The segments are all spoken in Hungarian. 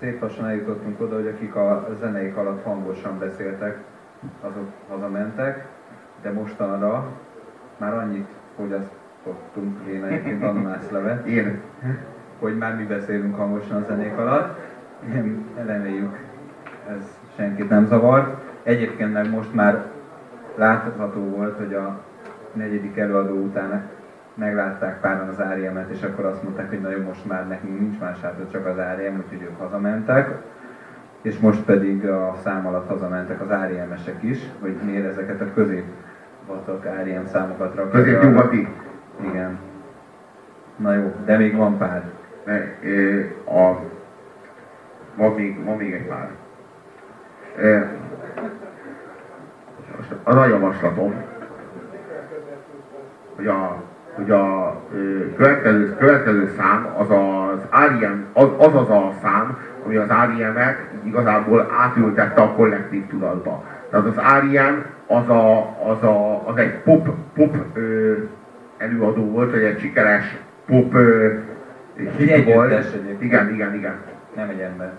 szép lassan eljutottunk oda, hogy akik a zeneik alatt hangosan beszéltek, azok hazamentek, de mostanra már annyit fogyasztottunk, én egyébként ananászlevet, én, hogy már mi beszélünk hangosan a zenék alatt. Nem, reméljük, ez senkit nem zavart. Egyébként meg most már látható volt, hogy a negyedik előadó után meglátták páran az áriemet, és akkor azt mondták, hogy nagyon most már nekünk nincs más hátra, csak az áriem, úgyhogy ők hazamentek. És most pedig a szám alatt hazamentek az áriemesek is, hogy miért ezeket a közép vatak áriem számokat rakják. Közép-nyugati. Igen. Na jó, de még van pár. Mert, ö, a, van, még, van még egy pár. Ö, most az a javaslatom, hogy a, hogy a ö, következő, következő szám az az REM, az, az az a szám, ami az REM-et igazából átültette a kollektív tudatba. Tehát az REM az, a, az, a, az egy pop, pop ö, előadó volt, vagy egy sikeres pop ö, Egy hit volt. együttes egyébként. Igen, igen, igen. Nem egy ember.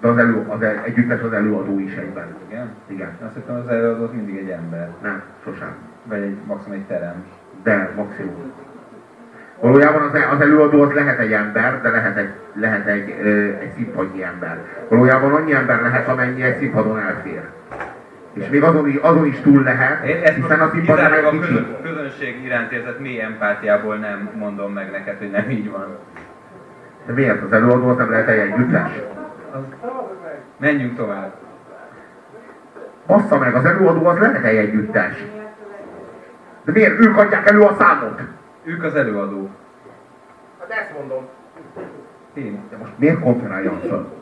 De az, elő, az el- együttes az előadó is egyben. Igen? Igen. Azt hittem az előadó az mindig egy ember. Nem, sosem. Vagy egy, maximum egy terem. De maximum. Valójában az, az előadó az lehet egy ember, de lehet egy, lehet egy, ö, egy színpadnyi ember. Valójában annyi ember lehet, amennyi egy színpadon elfér. És még azon, is- azon is túl lehet, Én ezt hiszen a most színpad nem kizárólag a egy kicsi. közö- közönség iránt érzett mély empátiából nem mondom meg neked, hogy nem így van. De miért? Az előadó az nem lehet egy együttes? Menjünk tovább. Bassza meg, az előadó az lehet egy együttes. De miért? Ők adják elő a számot. Ők az előadók. Hát ezt mondom. Én. De most miért konferálja a